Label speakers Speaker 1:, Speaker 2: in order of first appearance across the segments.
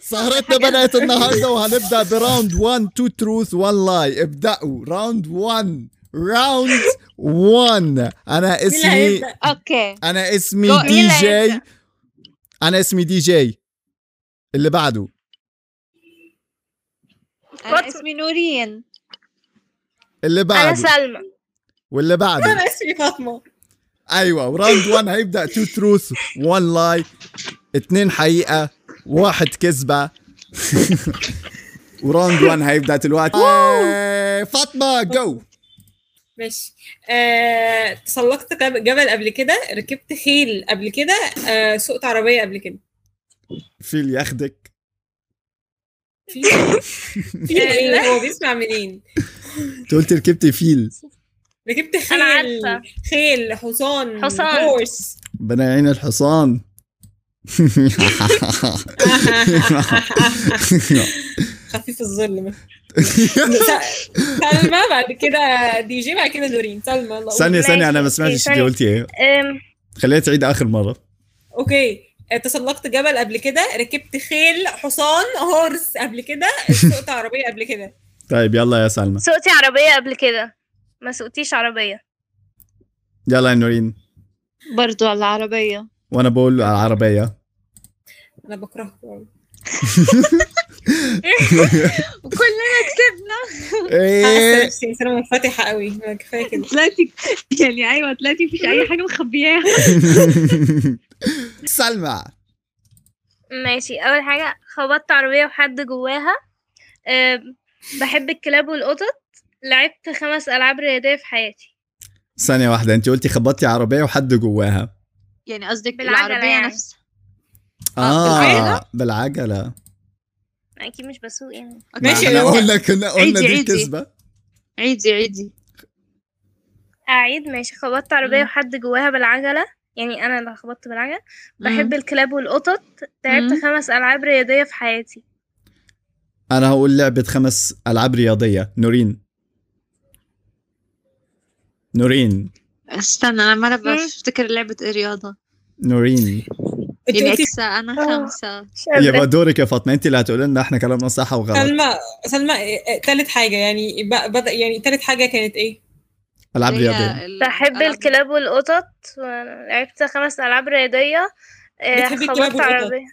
Speaker 1: سهرتنا بدأت النهارده وهنبدأ براوند 1 2 تروث 1 لاي ابدأوا راوند 1 راوند 1 انا اسمي
Speaker 2: هيبدأ؟
Speaker 3: اوكي
Speaker 1: انا اسمي
Speaker 3: جو- مين
Speaker 1: دي
Speaker 3: اللي
Speaker 1: جي
Speaker 3: هيبدأ؟
Speaker 1: انا اسمي دي جي اللي بعده
Speaker 3: انا اسمي نورين
Speaker 1: اللي
Speaker 4: انا
Speaker 1: بعده
Speaker 4: سلمى
Speaker 1: واللي بعده
Speaker 2: انا اسمي فاطمه
Speaker 1: ايوه وراوند 1 هيبدا 2 تروث 1 لاي اتنين حقيقه واحد كذبه وراوند 1 هيبدا دلوقتي آه، فاطمه جو
Speaker 2: ماشي آه، تسلقت جب- جبل قبل كده ركبت خيل قبل كده آه، سوقت عربيه قبل كده
Speaker 1: فيل ياخدك
Speaker 2: في في ايه هو بيسمع منين
Speaker 1: انت قلت ركبتي فيل
Speaker 2: ركبت خيل
Speaker 4: أنا عارفة.
Speaker 2: خيل حصان
Speaker 4: حصان.
Speaker 2: هورس
Speaker 1: بنا عين الحصان
Speaker 2: خفيف الظل سلمى بعد كده دي جي بعد كده دورين سلمى الله
Speaker 1: ثانيه ثانيه انا ما
Speaker 4: ماشي،
Speaker 1: سمعتش انت
Speaker 4: ثانية.
Speaker 1: قلتي ايه
Speaker 4: أم،
Speaker 1: خليها تعيد اخر مره
Speaker 2: اوكي آه، تسلقت جبل قبل كده ركبت خيل حصان هورس قبل كده سوقت عربيه قبل كده
Speaker 1: طيب يلا يا سلمى
Speaker 4: سوقتي عربية قبل كده ما سوقتيش عربية
Speaker 1: يلا يا نورين
Speaker 3: برضو على العربية
Speaker 1: وانا بقول على العربيه
Speaker 2: انا بكرهك أوي.
Speaker 3: وكلنا كسبنا
Speaker 2: حاسه
Speaker 1: ايه
Speaker 2: نفسي انسانه منفتحه قوي ما كفايه كده
Speaker 3: طلعتي يعني ايوه طلعتي مفيش اي حاجة مخبياها
Speaker 1: سلمى
Speaker 4: ماشي أول حاجة خبطت عربية وحد جواها أم، بحب الكلاب والقطط لعبت خمس ألعاب رياضية في حياتي
Speaker 1: ثانية واحدة أنت قلتي خبطتي عربية وحد جواها
Speaker 3: يعني قصدك
Speaker 4: بالعجلة
Speaker 3: العربية
Speaker 4: يعني.
Speaker 3: نفسها
Speaker 1: آه
Speaker 3: بالعجلة؟
Speaker 1: بالعجلة
Speaker 4: أكيد مش بسوق يعني
Speaker 3: أوكي.
Speaker 2: ماشي،
Speaker 1: احنا
Speaker 2: هو-
Speaker 1: قلنا كنا قلنا
Speaker 3: عيدي،
Speaker 1: دي
Speaker 3: عيدي.
Speaker 1: كذبة
Speaker 3: عيدي عيدي
Speaker 4: أعيد ماشي خبطت عربية
Speaker 3: مم.
Speaker 4: وحد جواها بالعجلة يعني أنا اللي خبطت بالعجلة
Speaker 3: مم.
Speaker 4: بحب الكلاب والقطط لعبت
Speaker 3: مم.
Speaker 4: خمس ألعاب رياضية في حياتي
Speaker 1: أنا هقول لعبة خمس ألعاب رياضية نورين نورين
Speaker 3: استنى انا عمالة
Speaker 4: مم.
Speaker 3: بفتكر لعبة الرياضة
Speaker 1: نورين
Speaker 2: انت
Speaker 3: يعني
Speaker 2: قلتي
Speaker 3: اكسا انا
Speaker 4: آه.
Speaker 3: خمسة
Speaker 4: مش قادرة.
Speaker 1: يبقى دورك يا فاطمة أنت اللي هتقولي لنا إحنا كلامنا صح وغلط
Speaker 2: سلمى سلمى آه، آه، تالت حاجه يعني ب- بدأ يعني تالت حاجه كانت ايه؟
Speaker 1: ألعاب
Speaker 3: اللي هي
Speaker 1: رياضية
Speaker 3: ال-
Speaker 4: بحب
Speaker 3: الألعاب-
Speaker 4: الكلاب والقطط لعبت خمس ألعاب رياضية آه،
Speaker 2: بتحبي الكلاب والقطط؟
Speaker 4: خبطت عربية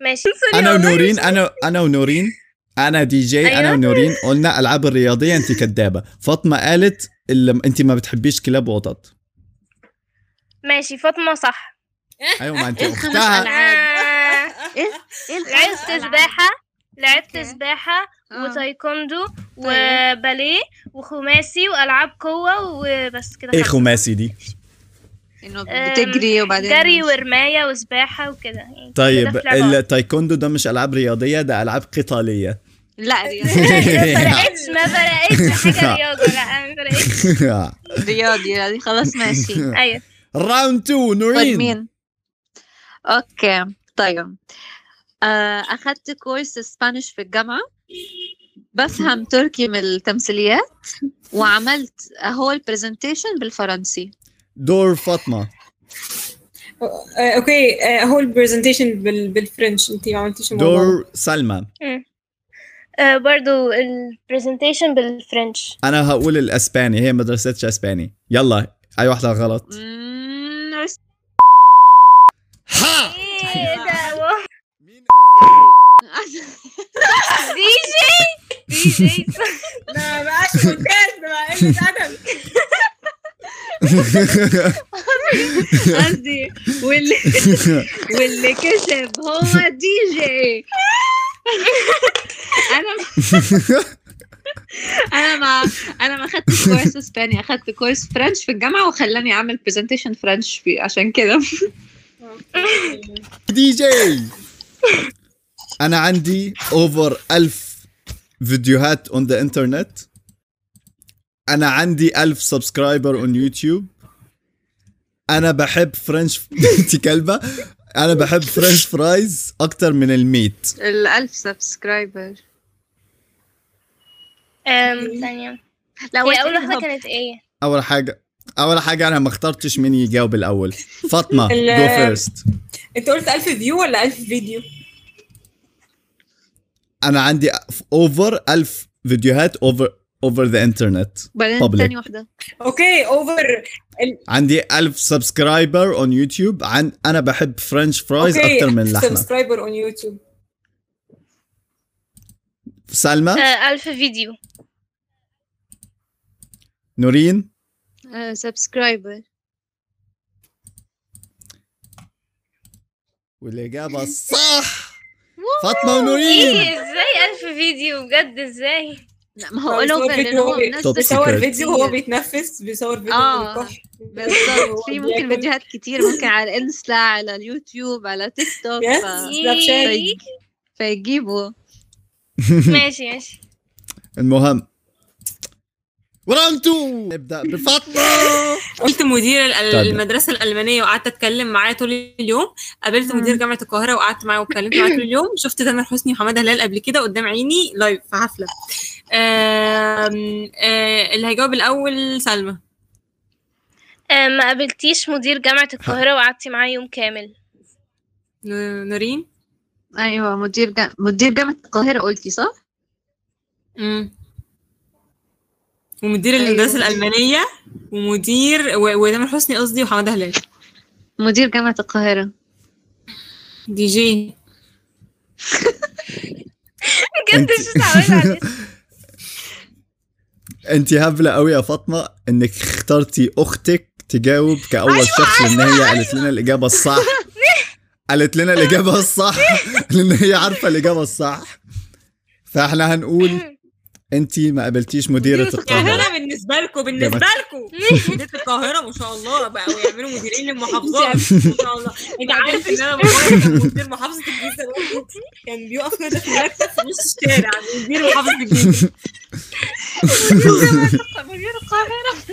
Speaker 4: ماشي
Speaker 1: أنا ونورين أنا أنا ونورين أنا دي جي أنا
Speaker 4: أيوة.
Speaker 1: ونورين قلنا ألعاب الرياضية أنت كدابة فاطمة قالت اللي أنت ما بتحبيش كلاب وقطط
Speaker 4: ماشي فاطمة صح
Speaker 1: أيوة ما أنت
Speaker 3: إيه الخمس
Speaker 1: أختها
Speaker 3: ألعاب؟
Speaker 4: آه،
Speaker 3: ايه إيه الألعاب؟
Speaker 4: لعبت سباحة لعبت
Speaker 3: أوكي.
Speaker 4: سباحة
Speaker 3: آه. طيب.
Speaker 4: وتايكوندو وباليه وخماسي وألعاب قوة وبس كده
Speaker 1: إيه
Speaker 4: خلاص.
Speaker 1: خماسي دي
Speaker 3: انه
Speaker 4: أم،
Speaker 3: بتجري وبعدين
Speaker 4: جري ورماية وسباحة وكده يعني كل ده
Speaker 1: طيب
Speaker 4: في لعبة واحدة.
Speaker 1: التايكوندو ده مش العاب رياضيه ده العاب قتاليه
Speaker 3: لا رياضي
Speaker 4: ما فرقتش ما فرقتش حاجة رياضة لا ما فرقتش
Speaker 3: رياضي يعني خلاص ماشي
Speaker 4: أيوة
Speaker 1: راوند 2
Speaker 3: طيب
Speaker 1: نورين
Speaker 3: مين؟ اوكي طيب آه، اخذت كورس اسبانيش في الجامعه بفهم تركي من التمثيليات وعملت هو البرزنتيشن بالفرنسي
Speaker 1: دور فاطمه
Speaker 2: آه، اوكي آه، هو البرزنتيشن بال... بالفرنش انت ما عملتيش الموضوع ده.
Speaker 1: دور سلمى
Speaker 4: آه، برضو البرزنتيشن بالفرنش
Speaker 1: انا هقول الاسباني هي ما درستش اسباني يلا اي واحده غلط
Speaker 3: مم،
Speaker 1: ها
Speaker 4: ايه ده واو.
Speaker 1: أيوة. مين
Speaker 4: دي جي دي جي
Speaker 2: ده ما بقاش ممتاز ده بقى قله ادب
Speaker 3: قصدي واللي واللي كسب هو دي جي انا انا ما انا ما اخدتش كورس اسباني اخدت كورس فرنش في الجامعه وخلاني اعمل برزنتيشن فرنش فيه عشان كده
Speaker 1: دي جي انا عندي اوفر ألف فيديوهات اون ذا انترنت انا عندي ألف سبسكرايبر اون يوتيوب انا بحب فرنش انت كلبه انا بحب فرنش فرايز اكتر من الميت
Speaker 3: الألف سبسكرايبر
Speaker 4: أم، ثانية
Speaker 3: لو
Speaker 4: هي أول واحدة كانت إيه؟
Speaker 1: اول حاجه اول حاجه انا ما اخترتش مين يجاوب الاول فاطمه
Speaker 2: ال-
Speaker 1: جو فيرست
Speaker 2: انت قلت 1000 فيو ولا 1000 فيديو؟
Speaker 1: انا عندي اوفر ألف فيديوهات اوفر اوفر ذا انترنت
Speaker 3: بعدين
Speaker 1: Public.
Speaker 3: تاني واحده
Speaker 2: اوكي اوفر
Speaker 1: عندي ألف سبسكرايبر اون يوتيوب عن انا بحب فرنش فرايز
Speaker 2: اوكي
Speaker 1: اكثر من اللحمه
Speaker 2: سبسكرايبر اون يوتيوب
Speaker 1: سلمى
Speaker 4: آه، ألف فيديو
Speaker 1: نورين
Speaker 3: آه، سبسكرايبر
Speaker 1: والاجابه الصح فاطمه ونورين
Speaker 4: ايه ازاي ألف فيديو بجد ازاي
Speaker 3: لا ما هو
Speaker 2: هو
Speaker 3: اول
Speaker 2: هو
Speaker 3: اوفر
Speaker 2: فيديو
Speaker 3: لان
Speaker 1: طب
Speaker 2: هو بي-
Speaker 3: هو منزل
Speaker 2: بيصور
Speaker 1: Secret.
Speaker 2: فيديو وهو بيتنفس بيصور فيديو
Speaker 3: آه.
Speaker 2: وهو بيكح.
Speaker 3: بالظبط في
Speaker 2: وهو
Speaker 3: ممكن
Speaker 2: بياكل.
Speaker 3: فيديوهات كتير ممكن على انستا على اليوتيوب على تيك توك
Speaker 2: Yes.
Speaker 3: ف...
Speaker 2: سناب شات.
Speaker 4: إيه.
Speaker 3: فيجيبوا
Speaker 4: ماشي ماشي
Speaker 1: المهم راوند 2 نبدا بفاطمه
Speaker 2: قلت مدير ال-
Speaker 1: طيب.
Speaker 2: المدرسه الالمانيه وقعدت اتكلم معاه طول اليوم قابلت مدير جامعه القاهره وقعدت معاه واتكلمت معاه طول اليوم شفت تامر حسني وحماده هلال قبل كده قدام عيني لايف في حفله آم، آه، اللي هيجاوب الاول سلمى
Speaker 4: آه، ما قابلتيش مدير جامعة القاهرة وقعدتي معاه يوم كامل
Speaker 2: ن- نورين
Speaker 3: ايوه مدير جا... مدير جامعه القاهره قلتي صح؟
Speaker 2: مم. ومدير
Speaker 3: أيوة.
Speaker 2: المدرسه الالمانيه ومدير و- وتامر حسني قصدي وحماده هلال
Speaker 3: مدير جامعه القاهره
Speaker 2: دي جي
Speaker 4: بجد مش متعودة على الاسم.
Speaker 1: انت هبله قوي يا فاطمه انك اخترتي اختك تجاوب كاول شخص لان هي قالت لنا الاجابه الصح قالت لنا الاجابه الصح لان هي عارفه الاجابه الصح فاحنا هنقول انت ما قابلتيش مديره
Speaker 2: يعني
Speaker 1: القاهره
Speaker 2: انا بالنسبه لكم بالنسبه لكم مديرة القاهره ما شاء الله بقوا يعملوا مديرين للمحافظات ما شاء الله انت عارف ان انا بابايا كان مدير محافظه الجيزه الوقت كان بيقف كده في المكتب في نص الشارع مدير محافظه الجيزه
Speaker 4: مدير القاهرة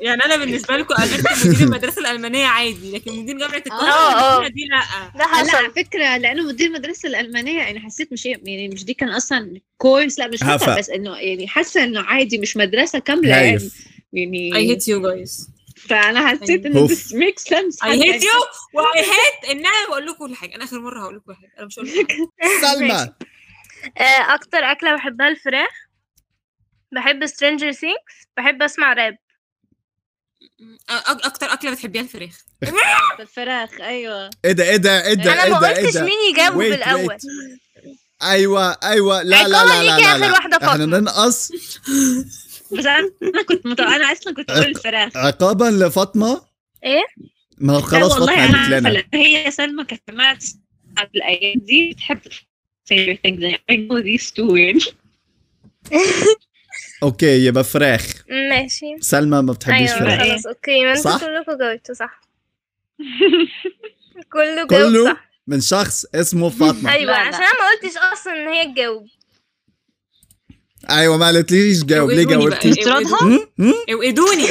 Speaker 2: يعني انا بالنسبه لكم قابلت مدير المدرسه الالمانيه عادي لكن مدير جامعه
Speaker 4: آه، آه.
Speaker 2: القاهره دي لا
Speaker 4: ده
Speaker 3: لا
Speaker 4: حصل
Speaker 3: على فكره لانه مدير المدرسه الالمانيه يعني حسيت مش يعني مش دي كان اصلا كورس لا مش
Speaker 1: هفا.
Speaker 3: هفا بس انه يعني حاسه انه عادي مش مدرسه كامله يعني
Speaker 1: هايف
Speaker 2: اي
Speaker 3: يعني
Speaker 2: هيت يو جايز
Speaker 3: فانا حسيت انه
Speaker 1: هوف.
Speaker 3: this makes sense
Speaker 2: اي هيت يو واي هيت ان انا بقول لكم كل حاجه انا اخر مره هقول لكم حاجه انا مش هقول لكم حاجة.
Speaker 1: سلمى
Speaker 4: آه، أكتر أكلة بحبها الفراخ بحب سترينجر ثينكس بحب أسمع راب
Speaker 2: أ- اكتر اكله بتحبيها الفراخ
Speaker 3: الفراخ ايوه
Speaker 1: ايه ده ايه ده ايه ده
Speaker 4: أنا
Speaker 1: ايه
Speaker 4: ما
Speaker 1: ده ايه
Speaker 4: قلتش
Speaker 1: ده
Speaker 4: مين يجاوبه
Speaker 1: Wait,
Speaker 4: بالأول
Speaker 1: wait. ايوه ايوه لا لا لا لا
Speaker 4: عقاب ليكي
Speaker 1: لا,
Speaker 4: آخر
Speaker 1: لا.
Speaker 4: واحدة
Speaker 1: احنا
Speaker 4: فاطمة.
Speaker 1: ننقص
Speaker 3: بس انا كنت متو... انا اصلا كنت بقول الفراخ
Speaker 1: عقابا لفاطمه
Speaker 4: إيه؟
Speaker 1: ما هو خلاص
Speaker 3: لا والله
Speaker 1: فاطمه
Speaker 3: انا
Speaker 1: قالت
Speaker 3: عارفه
Speaker 1: لنا
Speaker 3: لأن هي سلمى كانت سمعت قبل الايام دي بتحب favorite things يعني I know these two يعني
Speaker 1: اوكي يبقى فراخ
Speaker 4: ماشي
Speaker 1: سلمى ما بتحبيش
Speaker 4: أيوه
Speaker 1: فراخ
Speaker 3: فراخ.
Speaker 4: خلاص أوكي ما
Speaker 1: صح؟
Speaker 4: انتوا كلكم جاوبتوا صح كله جاوب
Speaker 1: كله
Speaker 4: صح
Speaker 1: من شخص اسمه فاطمه
Speaker 4: أيوه
Speaker 3: لا، لا.
Speaker 4: عشان أنا ما قلتش أصلا إن هي تجاوب
Speaker 1: ايوه ما قالتليش جاوب ليه
Speaker 2: اوعدوني بقى،
Speaker 1: جاوبتي
Speaker 3: افتراضها؟
Speaker 2: اوعدوني.
Speaker 1: هم؟ هم؟
Speaker 2: اوعدوني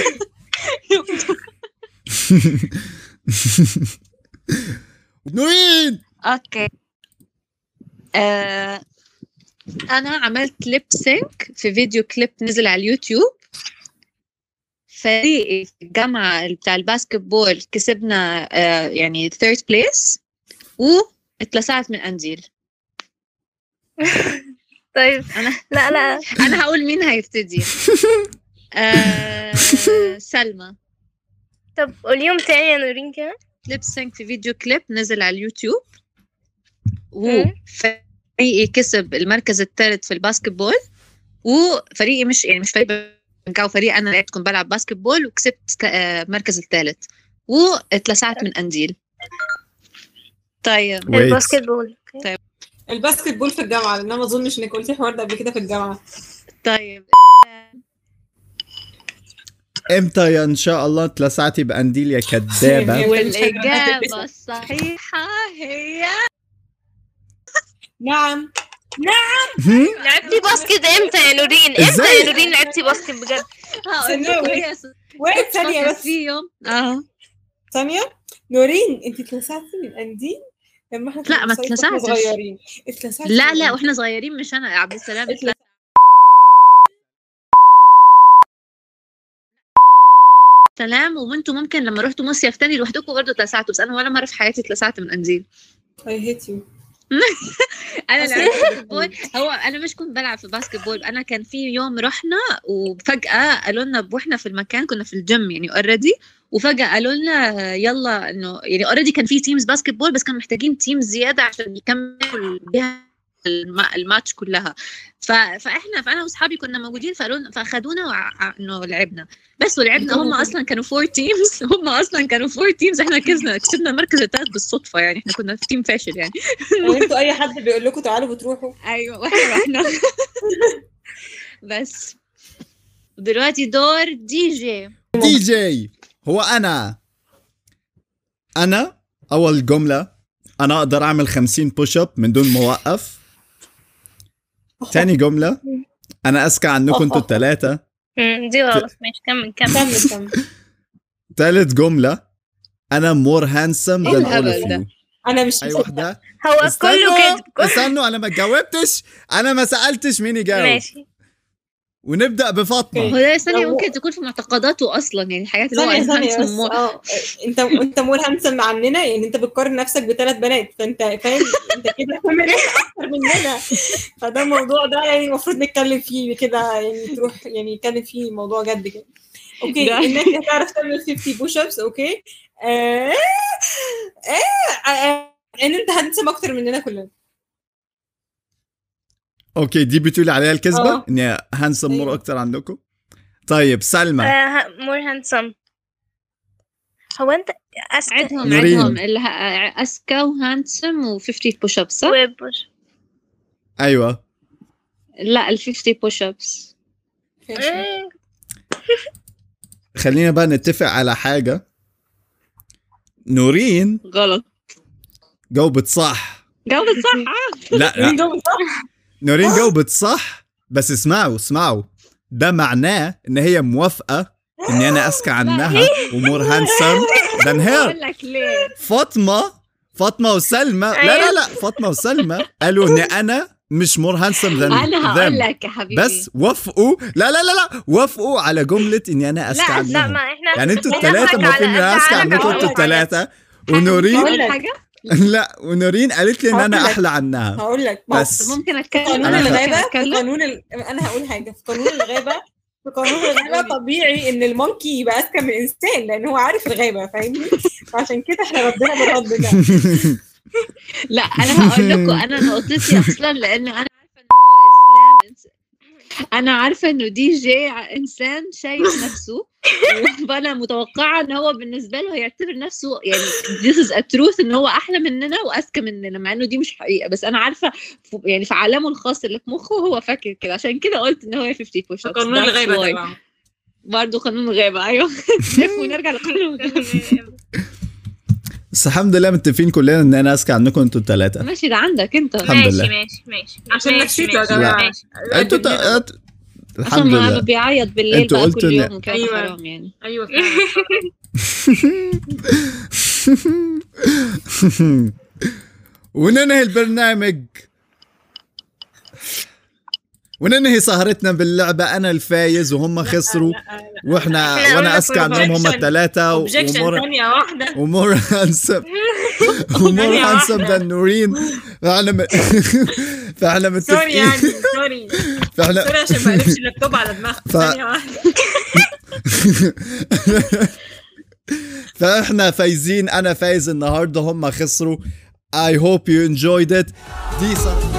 Speaker 1: نورين
Speaker 3: اوكي آه، انا عملت ليب سينك في فيديو كليب نزل على اليوتيوب فريقي في الجامعة بتاع الباسكت بول كسبنا آه، يعني ثيرد بليس واتلسعت من قنديل
Speaker 4: طيب
Speaker 3: أنا-
Speaker 4: لا لا
Speaker 3: انا هقول مين هيبتدي آه، سلمى
Speaker 4: طب قوليهم تاني يا نورين كده
Speaker 3: ليب سينك في فيديو كليب نزل على اليوتيوب
Speaker 4: مم.
Speaker 3: وفريقي كسب المركز الثالث في الباسكت بول وفريقي مش يعني مش فريق بنكاو فريق انا لعبت كنت بلعب باسكت بول وكسبت ك- آه، المركز الثالث واتلسعت من قنديل طيب
Speaker 1: Wait.
Speaker 4: الباسكت بول أوكي.
Speaker 2: الباسكت بول في الجامعه لان انا ما اظنش انك قلتي الحوار ده قبل كده في الجامعه
Speaker 3: طيب
Speaker 1: امتى يا ان شاء الله اتلسعتي بانديل يا كدابه
Speaker 3: والاجابه الصحيحه هي
Speaker 2: نعم
Speaker 1: هم؟
Speaker 4: لعبتي باسكت امتى يا نورين؟ امتى
Speaker 1: إزاي؟
Speaker 4: يا نورين لعبتي باسكت بجد؟
Speaker 3: هقول لكم هي ص-
Speaker 2: وقت ثانيه
Speaker 3: فكر
Speaker 2: بس
Speaker 3: في يوم اه
Speaker 2: ثانيه نورين انت اتلسعتي من قنديل لما احنا كنا
Speaker 3: لا، ما
Speaker 2: بنصيف وإحنا
Speaker 3: اتلسعتش.
Speaker 2: صغيرين يعني. اتلسعتي
Speaker 3: لا
Speaker 2: من
Speaker 3: لا
Speaker 2: قنديل.
Speaker 3: واحنا صغيرين مش انا عبد السلام
Speaker 2: اتلسعتي.
Speaker 3: سلام وانتم ممكن لما رحتوا مصيف تاني لوحدكم برضه اتلسعتوا بس انا ولا مره في حياتي اتلسعت من قنديل
Speaker 2: I hate you
Speaker 3: انا لعبت باسكت بول هو انا مش كنت بلعب في باسكت بول انا كان في يوم رحنا وفجاه قالوا لنا واحنا في المكان كنا في الجيم يعني اوريدي وفجاه قالوا لنا يلا انه يعني اوريدي كان في تيمز باسكت بول بس كانوا محتاجين تيم زياده عشان يكملوا بيها الم- الماتش كلها ف... فاحنا فانا واصحابي كنا موجودين فقالوا لنا- فاخدونا وع- ع- انه لعبنا بس ولعبنا هم اصلا كانوا فور تيمز هم اصلا كانوا فور تيمز احنا كسبنا كسبنا المركز الثالث بالصدفه يعني احنا كنا في تيم فاشل يعني
Speaker 2: وانتوا اي حد بيقول لكم تعالوا بتروحوا
Speaker 3: ايوه واحنا رحنا بس دلوقتي دور دي جي
Speaker 1: دي جي هو انا انا اول جمله انا اقدر اعمل 50 بوش اب من دون ما اوقف تاني جمله انا اذكى عنكم انتوا الثلاثه
Speaker 4: مم، دي غلط ماشي كمل كمل
Speaker 2: كمل كمل
Speaker 1: تالت جمله انا مور هانسم
Speaker 3: إيه
Speaker 1: ذان اول
Speaker 3: الهبل
Speaker 1: اوف
Speaker 3: ده؟
Speaker 1: يو
Speaker 2: انا مش
Speaker 1: اي وحده
Speaker 4: هو كله
Speaker 1: استنوا
Speaker 4: كده كله
Speaker 1: استنوا انا ما جاوبتش انا ما سالتش مين يجاوب
Speaker 4: ماشي
Speaker 1: ونبدا
Speaker 3: هو
Speaker 1: بفاطمه
Speaker 3: ده ثانية
Speaker 2: لو-
Speaker 3: ممكن تكون في معتقداته اصلا يعني الحاجات اللي هو
Speaker 2: ثانية ثانية
Speaker 3: enhancement
Speaker 2: بس
Speaker 3: more.
Speaker 2: اه انت انت مور هانسم عننا يعني انت بتقارن نفسك بثلاث بنات فانت فاهم انت كده فاهم اكتر مننا فده الموضوع ده يعني المفروض نتكلم فيه كده يعني تروح يعني نتكلم فيه موضوع جد كده اوكي
Speaker 3: ده-
Speaker 2: انك هتعرف تعمل 50 بوش ابس اوكي آه آه آه ان انت هانسم اكتر مننا كلنا
Speaker 1: اوكي دي بتقول عليها الكذبه
Speaker 2: آه.
Speaker 1: اني هانسم مور
Speaker 4: أيوه.
Speaker 2: أيوة.
Speaker 1: اكتر عندكم طيب
Speaker 4: أه.
Speaker 1: سلمى
Speaker 4: مور هانسم هو انت اسعد
Speaker 3: عدهم
Speaker 1: نورين.
Speaker 3: عدهم اللي ه- اذكى وهانسم و50 بوش ابس صح؟
Speaker 4: وبوش
Speaker 1: ايوه
Speaker 3: لا ال 50 بوش ابس
Speaker 4: إيه،
Speaker 1: خلينا بقى نتفق على حاجه نورين
Speaker 3: غلط
Speaker 1: جاوبت صح
Speaker 3: جاوبت صح
Speaker 1: لا لا
Speaker 2: جاوب صح
Speaker 1: نورين جاوبت صح بس اسمعوا اسمعوا ده معناه ان هي موافقه اني انا اذكى عنها ومور هانسم ذان هير
Speaker 3: بقول لك ليه
Speaker 1: فاطمه فاطمه وسلمى لا لا لا فاطمه وسلمى قالوا ان انا مش مور هانسم ذان
Speaker 3: انا هقول لك إيه. يا حبيبي
Speaker 1: بس وافقوا لا لا لا لا وافقوا على جمله اني انا اذكى
Speaker 3: لا،
Speaker 4: لا
Speaker 1: عنهم
Speaker 4: ما احنا
Speaker 1: يعني انتوا
Speaker 4: بنضحك
Speaker 1: الثلاثه
Speaker 4: على
Speaker 1: المفروض ان انا
Speaker 4: قد
Speaker 1: اذكى عنكم
Speaker 4: عالم العالم.
Speaker 1: انتوا الثلاثه
Speaker 3: هقول
Speaker 1: ونورين
Speaker 3: لك حاجه
Speaker 1: لا ونورين قالت لي ان انا احلى عنها
Speaker 2: هقول لك
Speaker 1: بس
Speaker 3: ممكن اتكلم
Speaker 2: قانون
Speaker 1: أنا
Speaker 3: انا
Speaker 1: خ-
Speaker 3: ممكن
Speaker 2: الغابه في
Speaker 3: اتكلم
Speaker 2: قانون ال... انا هقول حاجه في قانون الغابه في قانون الغابه طبيعي ان المونكي يبقى اذكى من الانسان لان هو عارف الغابه فاهمني فعشان كده احنا ردنا بالرد ده
Speaker 3: لا انا هقول لكم انا نقطتي اصلا لان انا عارفه ان هو اسلام إنس- انا عارفه انه دي جي ع- انسان شايف نفسه فانا متوقعه ان هو بالنسبه له هيعتبر نفسه يعني this is a truth ان هو احلى مننا واذكى مننا مع انه دي مش حقيقه بس انا عارفه ف- يعني في عالمه الخاص اللي في مخه هو فاكر كده عشان كده قلت ان هو 50 push ups
Speaker 2: قانون الغابه
Speaker 3: That's why.
Speaker 2: طبعا
Speaker 3: برضه قانون الغابه ايوه نلف ونرجع لقانون الغابه
Speaker 1: بس الحمد لله متفقين كلنا ان انا اذكى عنكم انتوا الثلاثه
Speaker 3: ماشي ده عندك انت
Speaker 1: الحمد لله.
Speaker 4: ماشي ماشي ماشي
Speaker 2: عشان
Speaker 4: ماشي،
Speaker 2: نفسيته يا
Speaker 4: ماشي،
Speaker 1: جماعة.
Speaker 4: ماشي.
Speaker 1: انتوا تا- أت-
Speaker 3: عشان
Speaker 1: الحمد
Speaker 3: ما
Speaker 1: لله
Speaker 3: بيعيط بالليل
Speaker 1: انتوا
Speaker 3: بقى
Speaker 1: قلتوا
Speaker 3: كل
Speaker 1: إن-
Speaker 3: يوم وكده
Speaker 2: أيوة.
Speaker 3: حرام يعني
Speaker 2: ايوه
Speaker 1: وننهي البرنامج وننهي سهرتنا باللعبة أنا الفايز وهم خسروا واحنا
Speaker 4: إحنا قلنا
Speaker 1: وانا اذكى
Speaker 4: كله
Speaker 1: عنهم هم
Speaker 2: objection.
Speaker 1: الثلاثة ومور
Speaker 2: ثانيه واحدة
Speaker 1: ومور هانسم ومور
Speaker 2: ثانية
Speaker 1: هانسم
Speaker 2: يعني واحدة.
Speaker 1: ذان نورين فاحنا م- فاحنا
Speaker 2: سوري
Speaker 1: متفقين
Speaker 2: يعني سوري
Speaker 1: فاحنا
Speaker 2: سوري عشان ما اقلبش اللابتوب على دماغك
Speaker 1: ف-
Speaker 2: ثانيه واحده
Speaker 1: فاحنا فايزين انا فايز النهارده هم خسروا I hope you enjoyed it دي صار